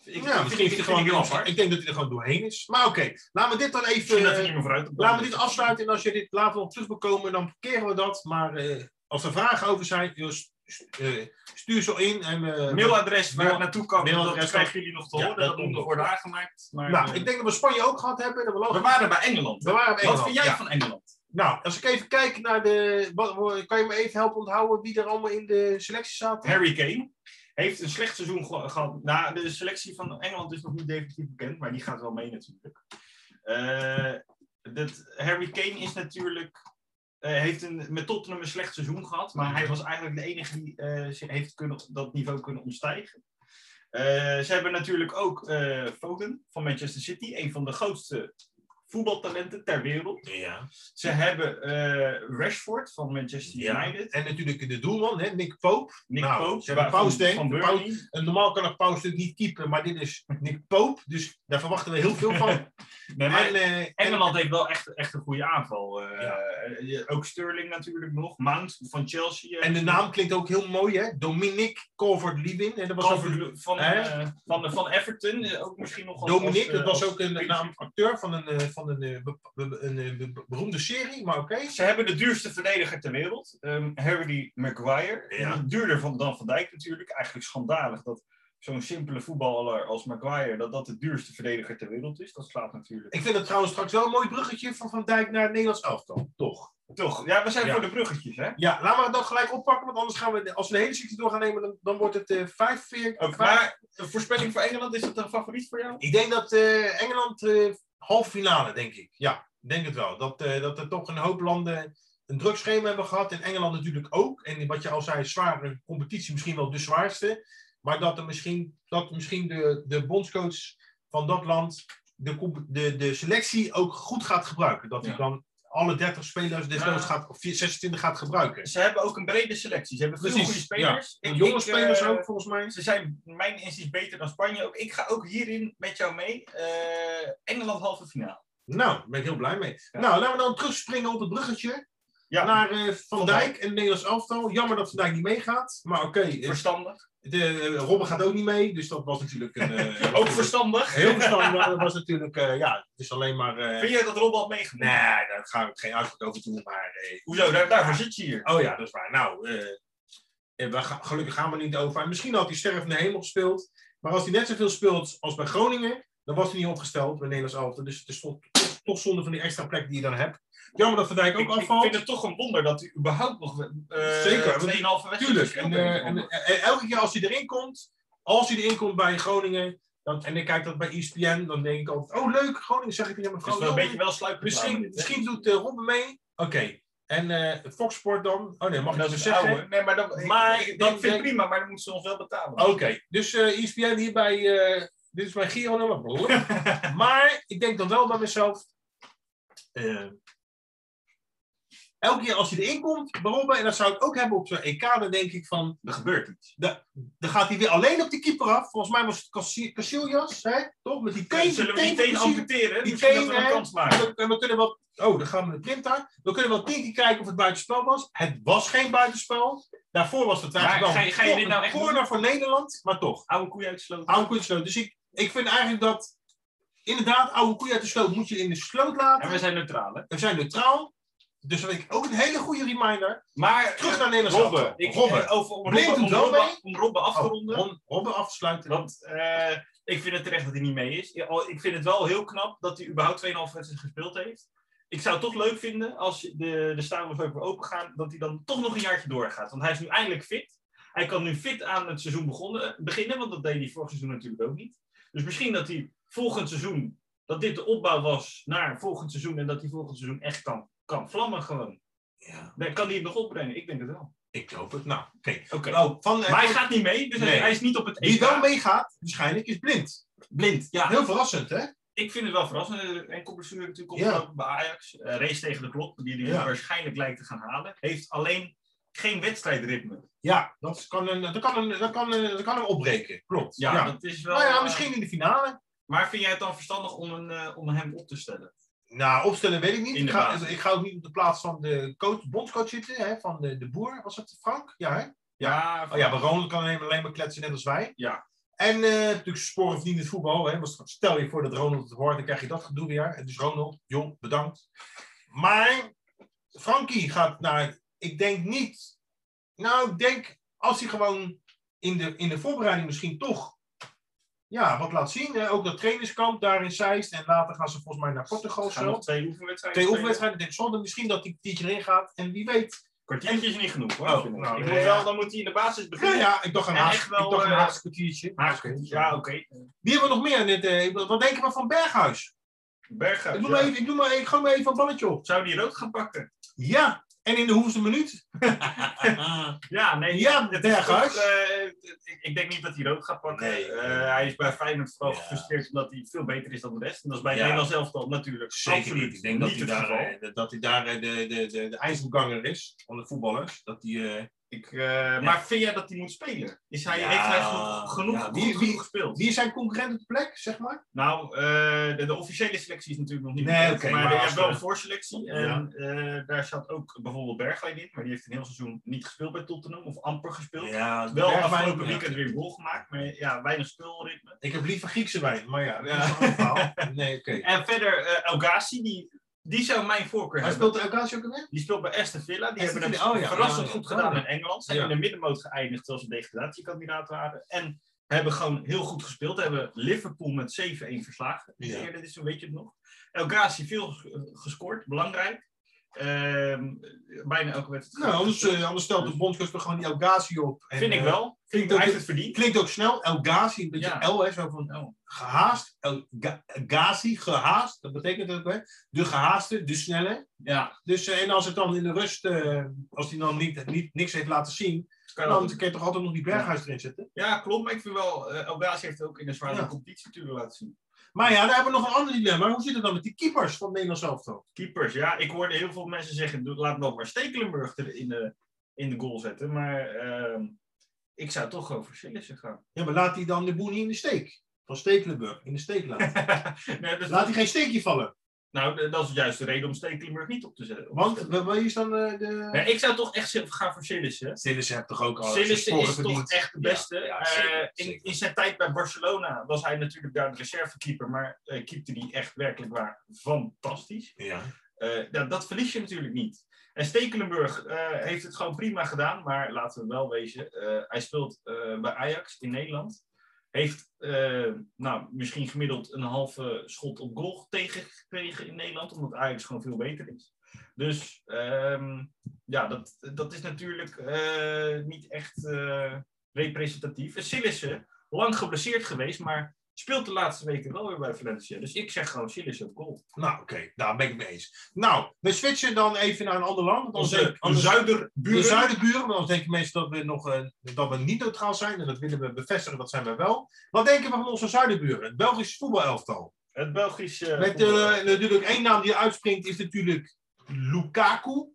A: Ik,
B: ja, misschien is
A: ik,
B: hij gewoon
A: heel
B: heel
A: apart.
B: Ik denk dat hij er gewoon doorheen is. Maar oké, laten we dit dan even. eh,
A: Misschien dat hij niet meer vooruit
B: laten we dit afsluiten. En als je dit later nog terug wil komen, dan parkeren we dat. Maar eh, als er vragen over zijn, joh, st- st- eh, stuur ze in. En, eh,
A: Mailadres waar het naartoe kan, dat
B: Mailadres
A: krijgen jullie nog te
B: Ja,
A: horen.
B: dat
A: Dat moet
B: komt
A: nog
B: nog.
A: worden aangemaakt. Maar,
B: nou,
A: eh,
B: ik denk dat we Spanje ook gehad hebben. Dat we,
A: we
B: lopen.
A: waren bij Engeland.
B: we waren op
A: Wat
B: Engeland,
A: vind jij
B: ja.
A: van Engeland?
B: Nou, als ik even kijk naar de. wat- kan je me even helpen onthouden wie er allemaal in de selectie zaten?
A: Harry Kane heeft een slecht seizoen ge- gehad. Nou, de selectie van Engeland is nog niet definitief bekend, maar die gaat wel mee natuurlijk. Eh, dat, Harry Kane is natuurlijk, eh, heeft een, met Tottenham een slecht seizoen gehad, maar hij was eigenlijk de enige die eh, zich heeft kunnen, dat niveau kunnen ontstijgen. Eh, ze hebben natuurlijk ook eh, Foden van Manchester City, een van de grootste voetbaltalenten ter wereld.
B: Ja.
A: Ze hebben eh, Rashford van Manchester
B: Ja.
A: United,
B: En natuurlijk de doelman, hè, Nick Pope.
A: Nick
B: Nou,
A: Pope
B: ze hebben
A: van-
B: Pausdeen,
A: van
B: de
A: Burnley.
B: En normaal kan ik Paus natuurlijk niet keepen, maar dit is Nick Pope. Dus daar verwachten we heel veel
A: [LAUGHS]
B: van.
A: Nee,
B: en,
A: maar
B: eh, en-
A: Engeland heeft wel echt, echt een goede aanval. Eh,
B: Ja.
A: eh, Ook Sterling natuurlijk nog. Mount van Chelsea. eh,
B: en de naam klinkt ook heel mooi, hè? Dominic Calvert-Lewin. En dat was ook een-
A: Calvert- van,
B: Hè?
A: eh, van, van Everton. eh, Ook misschien nog als- als,
B: Dominic,
A: eh,
B: dat was
A: als-
B: ook een naam acteur van een, eh, van een, eh, be- be- een, eh, be- beroemde serie, maar oké.
A: Ze hebben de duurste verdediger ter wereld. ehm, Harry Maguire.
B: Ja.
A: En Duurder van, dan Van Dijk natuurlijk. Eigenlijk schandalig dat zo'n simpele voetballer als Maguire... dat dat de duurste verdediger ter wereld is. Dat slaat natuurlijk...
B: Ik vind het trouwens straks wel een mooi bruggetje van Van Dijk naar het Nederlands elftal, toch?
A: Toch? Ja, we zijn
B: Ja.
A: voor de bruggetjes, hè?
B: Ja, laten we dat gelijk oppakken, want anders gaan we, als we de hele selectie door gaan nemen, dan, dan wordt het eh 5
A: Ook, maar een voorspelling voor Engeland, is dat een favoriet voor jou?
B: Ik denk dat eh, Engeland eh halve finale, denk ik. Ja, ik denk het wel. Dat, eh, dat er toch een hoop landen een druk schema hebben gehad. En Engeland natuurlijk ook. En wat je al zei, zware competitie, misschien wel de zwaarste. Maar dat er misschien, dat misschien de, de bondscoach van dat land de, comp- de, de selectie ook goed gaat gebruiken. Dat hij
A: Ja.
B: dan alle 30 spelers desnoods
A: Ja.
B: gaat, of 26 gaat gebruiken.
A: Ze hebben ook een brede selectie. Ze hebben veel
B: Precies,
A: goede spelers.
B: En
A: Ik-
B: jonge
A: ik,
B: spelers
A: eh,
B: ook, volgens mij.
A: Ze zijn, mijn inziens, beter dan Spanje ook. Ik ga ook hierin met jou mee. Eh, Engeland halve finale.
B: Nou, daar ben ik heel blij mee.
A: Ja.
B: Nou, laten we dan terugspringen op het bruggetje.
A: Ja,
B: naar eh, Van
A: Van
B: Dijk en het Nederlands elftal. Jammer dat Van Dijk niet meegaat. Maar oké, eh,
A: verstandig.
B: de eh, Robben gaat ook niet mee. Dus dat was natuurlijk een, eh,
A: [LAUGHS] Ook verstandig.
B: heel verstandig. maar dat was natuurlijk, eh, ja, dus alleen maar... eh,
A: Vind je dat Rob al meegemaakt?
B: nee, daar gaan we geen uitspraak over doen. Maar, eh,
A: Hoezo? Daar, daarvoor zit je hier.
B: oh ja, dat is waar. Nou, eh, eh, we gaan, gelukkig gaan we niet over. En misschien had hij Stervende Hemel gespeeld. Maar als hij net zoveel speelt als bij Groningen, dan was hij niet opgesteld bij Nederlands elftal. Dus het is toch, toch, toch zonde van die extra plek die je dan hebt. Jammer dat Van Dijk ook
A: Ik, ik
B: afvalt.
A: vind het toch een wonder dat hij überhaupt nog eh
B: Zeker, want-
A: 2,5 wedstrijd
B: Tuurlijk. En, eh, en, eh, elke keer als hij erin komt, als hij erin komt bij Groningen, dan, en ik kijk dat bij E ESPN, dan denk ik altijd, oh leuk, Groningen zeg ik tegen mijn
A: is wel een beetje
B: Groningen.
A: wel sluipen.
B: Oh, Misschien, misschien doet eh Robben mee. Oké. En eh Fox Sport dan? Oh nee, mag ik
A: dat
B: dat
A: is
B: zeggen?
A: oude. Nee, maar dat,
B: Maar
A: maar, ik, ik
B: dan
A: vind het
B: denk-
A: prima, maar dan moeten ze ons wel betalen.
B: Oké, dus eh ESPN hier bij, eh, dit is mijn Giro nummer. broer.
A: [LAUGHS]
B: maar ik denk dan wel bij mezelf, eh, elke keer als hij erin komt, bij Robben, en dat zou ik ook hebben op zijn EK, dan denk ik van,
A: Er gebeurt iets.
B: Dan gaat hij weer alleen op die keeper af. Volgens mij was het Cassi- Casillas, hè? Toch? Met die teen.
A: Zullen we die
B: teen van
A: teen
B: Casillas.
A: amputeren?
B: die
A: Misschien dat
B: teen,
A: we een
B: hè?
A: kans maken.
B: En we- en we kunnen wel... Oh, dan gaan we de printer. We kunnen wel tien keer kijken of het buitenspel was. Het was geen buitenspel. Daarvoor was het
A: Maar
B: eigenlijk
A: ga je- ga je dit nou echt
B: Voor
A: doen?
B: voor Nederland, maar toch.
A: Oude koeien uitsloten.
B: Oude koeien uit de sloot. Dus ik, ik vind eigenlijk dat... Inderdaad, oude koeien uit de sloot moet je in de sloot
A: En
B: laten.
A: we zijn neutraal, hè?
B: We zijn neutraal. Dus dat vind ik ook een hele goede reminder.
A: Maar
B: Terug
A: eh,
B: naar Nederland.
A: Robben. Ik,
B: Robben.
A: eh, over, om
B: Blind
A: Robben, om
B: doet wel
A: Robben,
B: mee.
A: om Robben af te ronden.
B: Oh, Ron- Robben af te sluiten.
A: Want eh, ik vind het terecht dat hij niet mee is. Ja, al- Ik vind het wel heel knap dat hij überhaupt 2,5 wedstrijd gespeeld heeft. Ik zou het toch leuk vinden als de, de stadions ook weer open gaan, dat hij dan toch nog een jaartje doorgaat. Want hij is nu eindelijk fit. Hij kan nu fit aan het seizoen begonnen, beginnen, want dat deed hij vorig seizoen natuurlijk ook niet. Dus misschien dat hij volgend seizoen, dat dit de opbouw was naar volgend seizoen en dat hij volgend seizoen echt kan, kan vlammen gewoon.
B: Ja.
A: Daar kan hij het nog opbrengen, ik denk het wel.
B: Ik hoop het. Nou, oké.
A: Oké.
B: Nou, van,
A: Maar hij gaat niet mee, dus hij-
B: Nee.
A: hij is niet op het
B: Wie
A: EK.
B: wel meegaat, waarschijnlijk, is blind.
A: Blind, ja.
B: Heel verrassend, hè?
A: Ik vind het wel verrassend. Eh, Enkel blessure natuurlijk
B: Ja.
A: opgelopen bij Ajax. Eh, race tegen de klok, die hij
B: Ja.
A: waarschijnlijk lijkt te gaan halen. Heeft alleen geen wedstrijdritme.
B: Ja, dat kan hem dat kan een, dat kan een, dat kan hem opbreken. Klopt.
A: Ja,
B: Ja.
A: dat is wel...
B: Nou ja,
A: eh,
B: misschien in de finale.
A: Maar vind jij het dan verstandig om, een, eh, om hem op te stellen?
B: Nou, opstellen weet ik niet.
A: In
B: Ik
A: de
B: ga,
A: basis.
B: ik ga ook niet op de plaats van de coach, bondscoach zitten, hè, van de, de boer. Was het Frank? Ja, hè?
A: Ja,
B: Oh ja, maar Ronald kan alleen- alleen maar kletsen, net als wij.
A: Ja.
B: En eh, natuurlijk sporen verdiend het voetbal. Hè? Want stel je voor dat Ronald het hoort, dan krijg je dat gedoe weer. En dus Ronald, jong, bedankt. Maar Frankie gaat naar, ik denk niet... Nou, ik denk als hij gewoon in de, in de voorbereiding misschien toch ja, wat laat zien. Hè? Ook dat trainingskamp daar in Zeist. En later gaan ze volgens mij naar Portugal. of
A: gaan nog
B: Zo.
A: twee oefenwedstrijden
B: Twee
A: spelen.
B: oefenwedstrijden, denk ik. Zonder misschien dat die teacher erin gaat. En wie weet.
A: Kwartiertje is niet genoeg hoor.
B: Oh,
A: vind ik.
B: nou,
A: ik
B: ja,
A: moet
B: ja.
A: wel, dan moet hij in de basis
B: Nou
A: beginnen.
B: ja, ik dacht een
A: En
B: haast,
A: echt
B: ik
A: wel,
B: dacht een
A: eh,
B: Haagse kwartiertje.
A: Maar
B: Oké.
A: goed, ja, oké.
B: Wie hebben we nog meer? Net, eh, wat denken we van Berghuis?
A: Berghuis,
B: Ik, doe
A: ja.
B: maar even, ik, doe maar, ik gooi maar even een balletje op.
A: Zou die rood gaan pakken?
B: Ja, en in de hoeveelste [LAUGHS] minuut?
A: Ja, nee.
B: ja,
A: Het is
B: Berghuis.
A: toch, eh, ik, ik denk niet dat hij rood gaat pakken.
B: Nee.
A: Eh, hij is bij Feyenoord vooral
B: Ja.
A: gefrustreerd omdat hij veel beter is dan de rest. En dat is bij
B: Ja.
A: Nederland zelf dan natuurlijk absoluut het geval.
B: eh, dat hij daar eh, de, de, de, de ijsbeganger is van de voetballers. Dat hij, eh,
A: Ik, eh, Maar vind jij dat hij moet spelen? Is hij,
B: Ja.
A: Heeft hij geno- genoeg,
B: Ja,
A: goed
B: wie- wie-
A: genoeg gespeeld?
B: wie is zijn concurrent op de plek, zeg maar?
A: Nou, eh, de, de officiële selectie is natuurlijk nog niet
B: Nee,
A: bekend,
B: oké,
A: maar,
B: maar
A: er
B: als
A: is wel
B: we-
A: een voorselectie. En eh, daar zat ook bijvoorbeeld Bergwijn in, maar die heeft een heel seizoen niet gespeeld bij Tottenham, of amper gespeeld.
B: Ja,
A: Wel
B: Bergwijn,
A: afgelopen
B: ja.
A: weekend weer een goal gemaakt, maar ja, weinig speelritme.
B: Ik heb liever Griekse wijn, maar ja. dat is een ander verhaal. [LAUGHS] Nee, oké.
A: En verder eh El Ghazi, die, die zou mijn voorkeur
B: Hij
A: hebben.
B: speelt de Elkaasje ook alweer?
A: Die speelt bij Aston Villa. Die
B: Aston
A: hebben het
B: Villa, oh ja,
A: verrassend
B: ja, ja.
A: goed
B: Oh,
A: gedaan
B: ja.
A: in Engeland. Zijn
B: Ja.
A: in de middenmoot geëindigd terwijl ze degradatiekandidaat waren. En hebben gewoon heel goed gespeeld. Hebben Liverpool met 7-1 verslagen. Dus
B: Ja.
A: eerder dit seizoen, weet je het nog. El Ghazi veel eh, gescoord, belangrijk. Ehm, bijna elke wedstrijd.
B: Nou, anders, eh, anders stelt de bondscoach toch gewoon die El Ghazi op. En,
A: Vind ik
B: eh,
A: wel.
B: klinkt,
A: Hij heeft
B: ook,
A: het verdiend.
B: klinkt ook snel, El Ghazi, een beetje
A: Ja.
B: El, hè, zo van
A: Oh.
B: gehaast. El Ga- Ghazi, gehaast, dat betekent ook, hè? De gehaaste, de snelle.
A: Ja,
B: Dus, eh, en als het dan in de rust, eh, als hij dan niet, niet, niks heeft laten zien,
A: kan
B: dan
A: wel.
B: kun je toch altijd nog die Berghuis erin zetten.
A: ja, klopt. Maar ik vind wel, eh El Ghazi heeft ook in een zware
B: Ja.
A: competitie natuurlijk laten zien.
B: Maar ja, daar hebben we nog een ander dilemma. Hoe zit het dan met die keepers van het Nederlands elftal?
A: Keepers, ja. Ik hoorde heel veel mensen zeggen, doe- laat nog maar Stekelenburg er in de, in de goal zetten. Maar ehm, ik zou toch gewoon voor Sillissen gaan.
B: Ja, maar laat hij dan de boel niet in de steek. Van Stekelenburg, in de steek laten. [LAUGHS]
A: nee, dat is-
B: laat hij geen steekje vallen.
A: nou, eh, dat is juist de reden om Stekelenburg niet op te zetten.
B: Want, wa- wat is dan eh, de...
A: Ja, ik zou toch echt zeggen, gaan voor Sillissen.
B: Sillissen heeft toch ook al
A: Sillissen
B: sporen
A: is toch
B: verdiend?
A: echt de
B: Ja,
A: beste.
B: ja,
A: Eh,
B: zeker,
A: in,
B: zeker.
A: in zijn tijd bij Barcelona was hij natuurlijk daar de reservekeeper, maar eh keepte die echt werkelijk waar fantastisch.
B: Ja.
A: Eh, nou, dat verlies je natuurlijk niet. En Stekelenburg eh, heeft het gewoon prima gedaan, maar laten we wel wezen, eh, hij speelt eh, bij Ajax in Nederland. Heeft eh, nou, misschien gemiddeld een halve schot op goal tegengekregen in Nederland, omdat Ajax gewoon veel beter is. Dus ehm, ja, dat, dat is natuurlijk eh, niet echt eh, representatief. En Sillissen, lang geblesseerd geweest, maar speelt de laatste weken wel weer bij Valencia. Dus ik zeg gewoon Sillissen op goal.
B: Nou, oké, daar ben ik mee eens. Nou, we switchen dan even naar een ander land. Want anders,
A: Onze,
B: anders-
A: zuiderburen.
B: de zuidenburen, want dan denken mensen dat we, nog, eh, dat we niet neutraal zijn. En dat willen we bevestigen, dat zijn we wel. Wat denken we van onze zuidenburen? Het Belgisch voetbalelftal.
A: Het Belgische.
B: Met
A: voetbal.
B: eh, natuurlijk één naam die uitspringt, is natuurlijk Lukaku.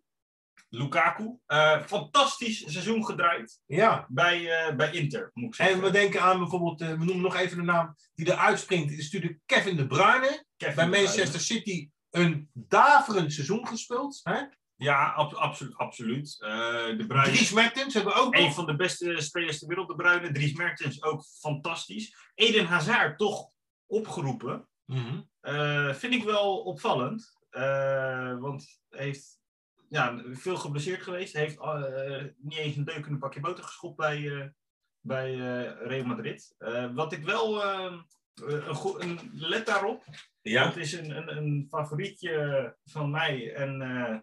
A: Lukaku. Eh, fantastisch seizoen gedraaid
B: Ja,
A: bij, eh, bij Inter, moet ik zeggen.
B: En we denken aan bijvoorbeeld, eh, we noemen nog even een naam die eruit springt, is natuurlijk Kevin De Bruyne.
A: Kevin
B: Bij
A: De Bruyne.
B: Manchester City een daverend seizoen gespeeld. Hè?
A: Ja, ab- absolu- absoluut. Eh, de Bruyne.
B: Dries Mertens hebben we ook
A: Een
B: nog.
A: van de beste spelers ter wereld, de Bruyne. Dries Mertens ook fantastisch. Eden Hazard toch opgeroepen.
B: Mhm.
A: Eh, vind ik wel opvallend. Eh, want hij heeft ja, veel geblesseerd geweest. Hij heeft eh, niet eens een deuk in een pakje boter geschopt bij, eh, bij eh, Real Madrid. Eh, wat ik wel... eh, een goe- een, let daarop.
B: Ja.
A: Het is een, een, een favorietje van mij en eh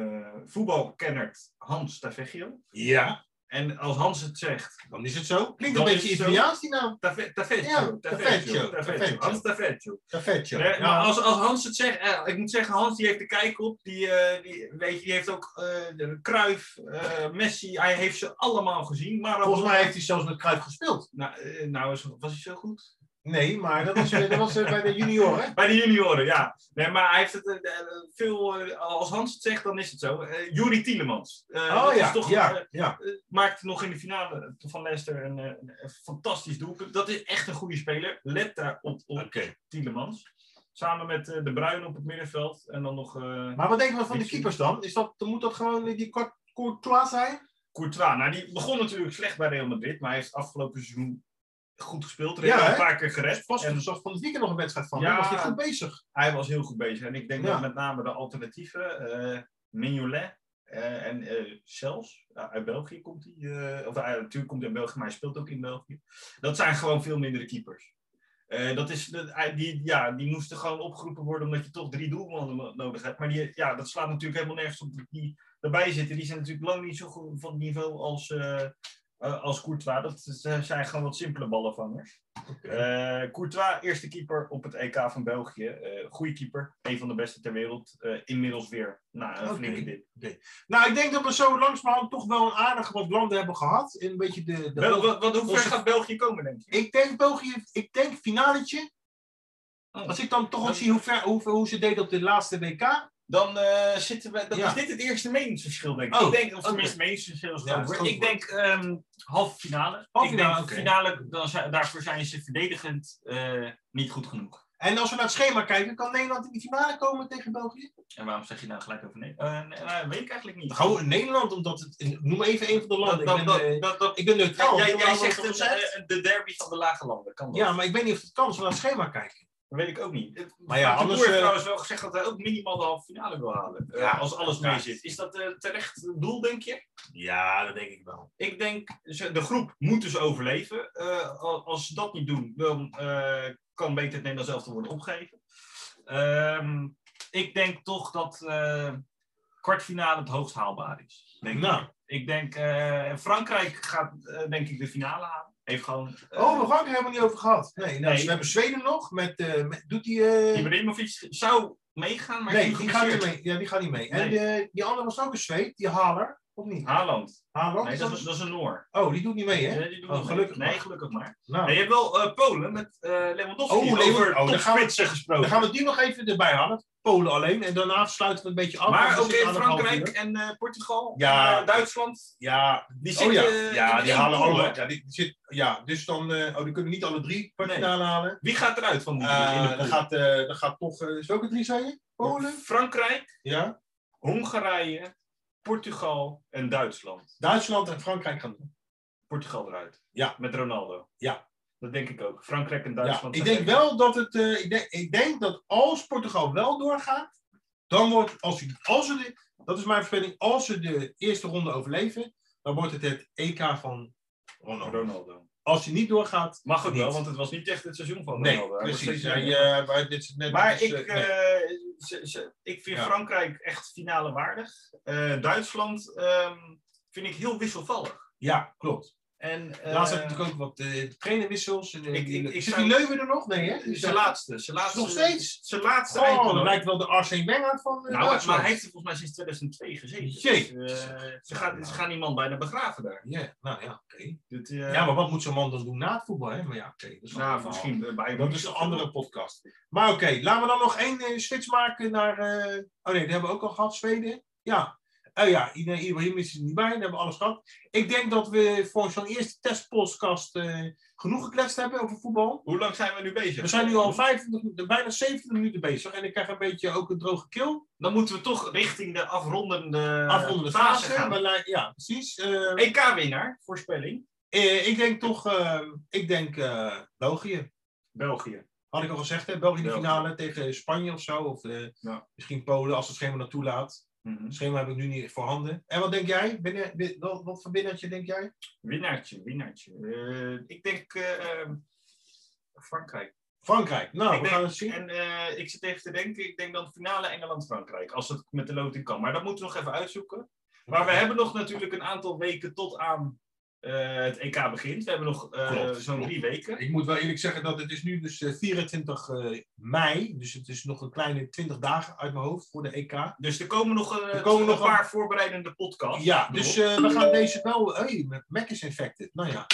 A: eh voetbalkenner Hans Taveggio.
B: ja,
A: En als Hans het zegt,
B: dan is het zo. Klinkt een
A: Dan
B: beetje
A: is het zo.
B: Italiaans die naam.
A: Tave-
B: Ja,
A: Taveggio,
B: Taveggio,
A: Taveggio, Taveggio,
B: Taveggio.
A: Hans Taveggio.
B: Perfectje.
A: Nee, maar
B: Ja.
A: als, als Hans het zegt, eh, ik moet zeggen, Hans die heeft de kijk op, die, eh, die, weet je, die heeft ook eh, de Cruijff, eh, Messi, hij heeft ze allemaal gezien. Maar
B: Volgens mij heeft hij zelfs met Cruijff gespeeld.
A: nou, eh, nou is- was hij zo goed?
B: Nee, maar dat was, eh, dat was eh, bij de junioren.
A: Bij de junioren, ja. Nee, maar hij heeft het eh, eh, veel. eh, als Hans het zegt, dan is het zo. Eh Juri Tielemans. Eh,
B: Oh
A: dat
B: ja,
A: is toch, eh,
B: ja, ja.
A: eh, maakte nog in de finale van Leicester een, eh, een, een fantastisch doelpunt. Dat is echt een goede speler. Let daar op, op Tielemans. Samen met eh, De Bruin op het middenveld. En dan nog eh
B: Maar wat denken we van de keepers dan? Is dat, moet dat gewoon eh, die Cour- Courtois zijn?
A: Courtois. Nou, die begon natuurlijk slecht bij Real Madrid. Maar hij heeft afgelopen seizoen goed gespeeld. Er
B: Ja,
A: heeft wel
B: hè?
A: een paar keer gered.
B: Pas
A: En-
B: er zat van het weekend nog een wedstrijd van.
A: Ja.
B: Ja. Was hij goed bezig?
A: hij was heel goed bezig. En ik denk
B: Ja.
A: dat met name de alternatieven, eh Mignolet eh, en eh zelfs uit België komt hij, eh, of hij natuurlijk komt hij uit België, maar hij speelt ook in België. Dat zijn gewoon veel mindere keepers. Eh, dat is, dat- hij- die, ja, die moesten gewoon opgeroepen worden omdat je toch drie doelmannen mo- nodig hebt. Maar die, ja, dat slaat natuurlijk helemaal nergens op die erbij zitten. Die zijn natuurlijk lang niet zo goed van het niveau als, eh eh, als Courtois. Dat z- zijn gewoon wat simpele ballenvangers. Eh, Courtois, eerste keeper op het EK van België. Eh goede keeper, een van de beste ter wereld. Eh, inmiddels weer na een
B: Oké.
A: flinke dip.
B: Nou, ik denk dat we zo langzamerhand toch wel een aardige wat landen hebben gehad. En een beetje de, de-
A: Wel, wat, wat, hoe ver
B: onze-
A: gaat België komen, denk je?
B: Ik denk België, ik denk finaletje.
A: Oh.
B: Als ik dan toch ook
A: Dat-
B: zie hoe, ver, hoe, hoe ze deed op de laatste WK.
A: Dan eh, zitten we. Dan
B: Ja.
A: is dit het eerste meningsverschil, denk ik.
B: Oh,
A: ik denk, of
B: oké.
A: tenminste, meningsverschil is
B: Ja, dat
A: groot.
B: is groot
A: Ik denk ehm halve finale.
B: Halve
A: ik
B: finale,
A: denk
B: oké.
A: finale, dan zijn, daarvoor zijn ze verdedigend eh, niet goed genoeg.
B: En als we naar het schema kijken, kan Nederland in de finale komen tegen België?
A: En waarom zeg je nou gelijk over nee? Eh, nee, nou, weet ik eigenlijk niet.
B: Gewoon in Nederland, omdat het. Noem even een van de
A: dat,
B: landen.
A: dat,
B: ik,
A: dat,
B: ben, eh,
A: dat, dat-
B: ik ben neutraal.
A: jij,
B: Ik
A: jij
B: wil
A: zegt
B: wel
A: een,
B: wat gezegd.
A: eh, de derby van de lage landen. Kan dat?
B: Ja, maar ik weet niet of het kan als we naar het schema kijken.
A: Dat weet ik ook niet.
B: Maar ja,
A: Frank de
B: anders,
A: Boer heeft
B: eh,
A: trouwens wel gezegd dat hij ook minimaal de halve finale wil halen. eh,
B: Ja,
A: als alles mee
B: ja.
A: zit. Is dat eh, terecht doel, denk je?
B: Ja, dat denk ik wel.
A: Ik denk, ze- de groep moet dus overleven. Eh, al- als ze dat niet doen, dan eh, kan beter het Nederlands elftal worden opgegeven. Ehm, ik denk toch dat eh, kwartfinale het hoogst haalbaar is. Denk ik.
B: Nou.
A: Ik denk, eh, Frankrijk gaat eh, denk ik de finale halen. Heeft gewoon... eh,
B: Oh, nog had ik er helemaal niet over gehad. Nee, nou,
A: Nee.
B: we hebben Zweden nog. Met, eh, met- doet die... eh,
A: Ibrahimovic zou meegaan, maar
B: nee, die gaat
A: geblesseerd.
B: niet mee. Ja, die gaat niet mee. En eh, die andere was ook een Zweed. Die Haler. Of niet?
A: Haaland.
B: Haler?
A: Nee, dat is, dat is een Noor.
B: Oh, die doet niet mee, hè?
A: Nee, die doen
B: Oh,
A: nog
B: gelukkig
A: mee. Nee,
B: maar.
A: gelukkig maar.
B: Nou.
A: Nee, je hebt wel eh, Polen met eh Lewandowski.
B: Oh, Lewand-
A: over
B: oh, daar gaan we-
A: topspitsen
B: Dan
A: gesproken.
B: gaan we die nog even erbij halen. Polen alleen. En daarna sluiten we een beetje af. want
A: Maar
B: we
A: ook
B: zitten
A: in
B: aan een half
A: Frankrijk
B: uur.
A: en eh, Portugal,
B: Ja.
A: en, eh, Duitsland.
B: Ja,
A: Die
B: oh,
A: zitten
B: ja.
A: eh, in
B: ja die
A: één
B: halen
A: pool,
B: alle.
A: hè.
B: Ja, die, die zit, ja, dus dan. eh, oh, die kunnen niet alle drie kwartfinale halen.
A: Wie gaat eruit van die in de
B: Eh dan,
A: pool?
B: gaat, eh dan gaat toch. eh welke drie zijn je? Polen?
A: Frankrijk,
B: Ja.
A: Hongarije, Portugal en Duitsland.
B: Duitsland en Frankrijk gaan doen.
A: Portugal eruit.
B: Ja.
A: Met Ronaldo.
B: Ja.
A: Dat denk ik ook. Frankrijk en
B: Ja,
A: Duitsland.
B: ik
A: zijn
B: denk
A: weg.
B: wel dat het. eh, ik, denk, ik denk dat als Portugal wel doorgaat. Dan wordt. Als, ze- als ze de, dat is mijn voorspelling. Als ze de eerste ronde overleven. Dan wordt het het EK van Ronaldo.
A: Ronaldo.
B: Als hij niet doorgaat.
A: Mag ook
B: Niet.
A: wel, want het was niet echt het seizoen van
B: Nee,
A: Ronaldo. Hij was
B: precies.
A: steeds-
B: Hij, eh, maar dit is net
A: Maar
B: als,
A: ik,
B: eh,
A: eh,
B: nee.
A: ze- ze- ik vind
B: Ja.
A: Frankrijk echt finale waardig. Eh, Duitsland ehm, vind ik heel wisselvallig.
B: Ja, klopt.
A: En, eh,
B: Laatst heb je natuurlijk ook wat eh trainerwissels. En, eh,
A: ik- ik- ik
B: zit
A: zou-
B: die Leuven er nog? Nee, hè? Die
A: Zijn laatste. Zijn laatste
B: Nog steeds?
A: Zijn laatste
B: Oh,
A: eindtoernooi.
B: dat lijkt wel de Arsene Wenger van eh,
A: Nou,
B: Duitsland.
A: maar hij heeft er volgens mij sinds 2002 gezeten. Dus,
B: Jezus.
A: eh, ze, gaan, ze gaan die man bijna begraven daar.
B: Ja, nou ja, oké.
A: Dit, eh,
B: Ja, maar wat moet zo'n man dan doen na het voetbal? Hè? Maar ja, oké. dat is
A: nou,
B: allemaal-
A: misschien eh, bij
B: Dat is een andere podcast. Maar oké, laten we dan nog één eh, switch maken naar... eh, Oh nee, die hebben we ook al gehad, Zweden. Ja. Oh ja, iedereen iedereen is er niet bij. Dan hebben we alles gehad. Ik denk dat we voor zo'n eerste testpodcast eh, genoeg gekletst hebben over voetbal.
A: Hoe lang zijn we nu bezig?
B: We zijn nu al 25, minuten- bijna 70 minuten bezig en ik krijg een beetje ook een droge keel.
A: Dan moeten we toch richting de afrondende,
B: Afrondende fase.
A: gaan.
B: maar lij- ja, precies. Eh,
A: EK-winnaar, voorspelling.
B: eh, ik denk toch, eh, ik denk eh, België.
A: België.
B: Had ik al gezegd, hè? België in de
A: België.
B: finale tegen Spanje of zo. Of eh,
A: Ja.
B: misschien Polen als het schema dat toelaat.
A: Mhm.
B: Het schema heb ik nu niet voorhanden. En wat denk jij? Binnen, bi- wat, wat voor binnenetje denk jij?
A: Winnaartje, winnaartje. Eh, ik denk eh, ehm, Frankrijk.
B: Frankrijk. Nou,
A: Ik
B: we
A: denk-
B: gaan het zien.
A: En eh, ik zit even te denken, ik denk dan finale Engeland-Frankrijk. Als het met de loting kan. Maar dat moeten we nog even uitzoeken. Maar we hebben nog natuurlijk een aantal weken tot aan eh, het EK begint. We hebben nog eh,
B: Klopt,
A: zo'n
B: klopt.
A: drie weken.
B: Ik moet wel eerlijk zeggen dat het is nu dus eh, 24 eh, mei. Dus het is nog een kleine 20 dagen uit mijn hoofd voor de EK.
A: Dus er komen nog, eh,
B: Er komen
A: een
B: nog
A: paar voorbereidende podcasts.
B: Ja, dus eh, we gaan deze wel. Hey, Mac is infected. Nou ja,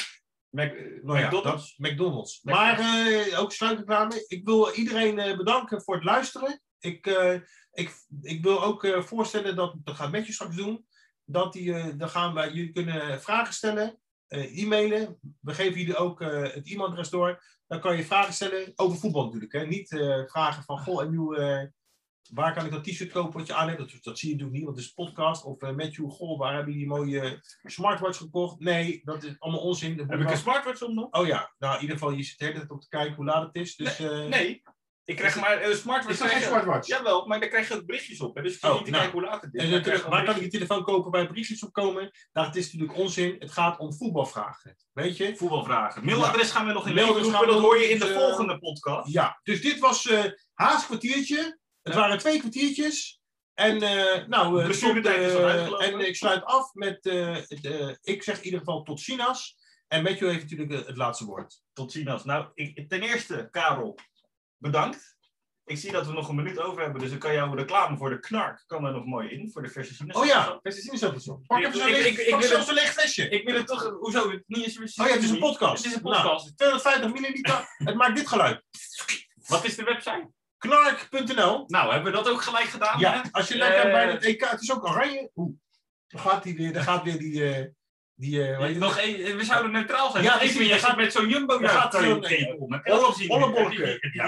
A: Mac,
B: nou ja
A: McDonald's.
B: dat- McDonald's.
A: Mac-
B: Maar eh, ook sluit ik daarmee. Ik wil iedereen eh, bedanken voor het luisteren. Ik, eh, ik, ik wil ook eh, voorstellen dat, dat gaat Matthew straks doen. Dat die, eh, dan gaan wij, jullie kunnen vragen stellen, eh, e-mailen. We geven jullie ook eh, het e-mailadres door. Dan kan je vragen stellen over voetbal natuurlijk. Hè? Niet eh, vragen van, goh, en nu, eh, waar kan ik dat t-shirt kopen wat je aan hebt? Dat, dat zie je natuurlijk niet, want het is een podcast. Of eh, Matthew, goh, waar hebben jullie die mooie smartwatch gekocht? Nee, dat is allemaal onzin. Dat moet
A: Heb ik
B: wel-
A: een smartwatch om nog?
B: Oh ja, nou in ieder geval, je zit de hele tijd op te kijken hoe laat het is. Dus, eh,
A: Nee. Ik krijg maar een smartwatch.
B: Is dat geen
A: krijg je-
B: smartwatch?
A: Jawel, maar daar krijg je ook berichtjes op. Hè? Dus je
B: Oh,
A: kunt niet
B: nou.
A: kijken hoe laat het is.
B: En
A: Dan krijg je
B: natuurlijk,
A: gewoon
B: waar kan ik
A: berichtjes.
B: die telefoon kopen waar briefjes op komen? Dat is natuurlijk onzin. Het gaat om voetbalvragen. Weet je?
A: voetbalvragen. Mailadres gaan we nog in leven
B: Mailadres
A: roepen.
B: gaan we
A: Dat
B: nog
A: hoor je in de
B: niet, eh,
A: volgende podcast.
B: Ja, dus dit was eh haast kwartiertje. Het waren twee kwartiertjes. En eh, nou, eh,
A: Blessuretijd is
B: tot,
A: wat
B: eh,
A: uitgelopen.
B: en ik sluit af met, eh, het, eh, ik zeg in ieder geval tot Sinas. En Matthew heeft natuurlijk eh, het laatste woord.
A: Tot ziens. Nou, ik, ten eerste, Karel, bedankt. Ik zie dat we nog een minuut over hebben, dus ik kan jouw reclame voor de knark kan er nog mooi in, voor de verse
B: Oh
A: sinaasappel.
B: ja, beste Sinas zo. Pak
A: Ik-
B: even zo'n
A: ik-
B: leeg,
A: ik- ik
B: pak
A: wil
B: zelfs een leeg flesje.
A: Ik wil het toch, hoezo, het niet eens
B: Oh ja, het is een podcast.
A: Het is een
B: Nou,
A: podcast.
B: 250 milliliter. het maakt dit geluid.
A: Wat is de website?
B: Knark.nl
A: Nou, hebben we dat ook gelijk gedaan? hè?
B: Ja, als je lekker
A: Eh,
B: bij het EK, het is ook oranje. Oeh, dan gaat die weer, dan gaat weer die, eh, die eh, hoe heet het?
A: Nog één, we zouden neutraal zijn.
B: Ja,
A: Ja,
B: precies.
A: even, jij
B: Je gaat-
A: gaat met zo'n jumbo
B: je gaat zo'n- Ollebolken. Ja,
A: Ja,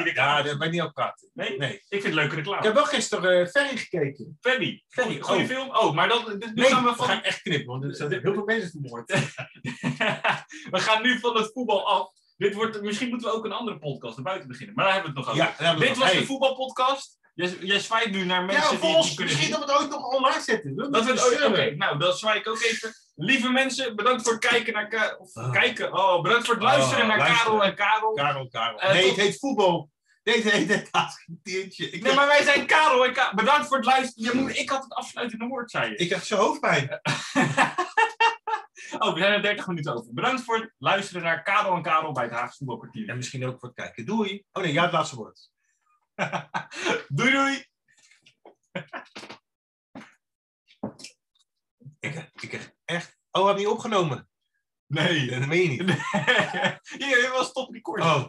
B: ja, daar ben ik niet over praten.
A: Nee?
B: Nee.
A: Ik vind het leuke
B: Ik
A: reclame.
B: heb wel gisteren eh, Ferry gekeken.
A: Ferry.
B: Ferry,
A: Goeie
B: oh.
A: film. Oh, maar dan, dus nu
B: Nee,
A: gaan we
B: dat
A: van
B: ga ik echt knippen, want er zijn heel veel mensen vermoord.
A: [LAUGHS] we gaan nu van het voetbal af. Dit wordt, misschien moeten we ook een andere podcast erbuiten beginnen. Maar daar hebben we het nog over.
B: Ja, daar hebben we
A: Dit
B: nog.
A: was
B: Hey.
A: de voetbalpodcast. Jij, jij zwaait nu naar mensen
B: Ja,
A: die
B: volgens
A: die kunnen
B: misschien
A: zien.
B: dat we het ooit nog online zetten.
A: Dat we het ooit- Oké,
B: zullen.
A: nou, dat zwaai ik ook even. Lieve mensen, bedankt voor het kijken naar... Ka- of
B: Ah.
A: kijken. Oh, bedankt voor het luisteren
B: Ah,
A: naar
B: luisteren.
A: Karel en Karel.
B: Karel, Karel.
A: Eh,
B: nee,
A: tot-
B: het heet voetbal. Deze heet het [LAUGHS] Askentiertje. Ik,
A: Nee, maar wij zijn Karel en Ka- Bedankt voor het luisteren. Je moet, ik had het afsluitende woord, zei je.
B: ik krijg zo hoofdpijn.
A: oh, we zijn er 30 minuten over. Bedankt voor het luisteren naar Karel en Karel bij het Haagse
B: En
A: Voetbalkwartier.
B: misschien ook voor het kijken. Doei. Oh nee, jij hebt het laatste woord.
A: Doei doei! [LAUGHS]
B: Ik, ik heb echt... Oh, heb je niet opgenomen?
A: Nee.
B: Dat meen je niet.
A: Hier, dit was top record.
B: Oh.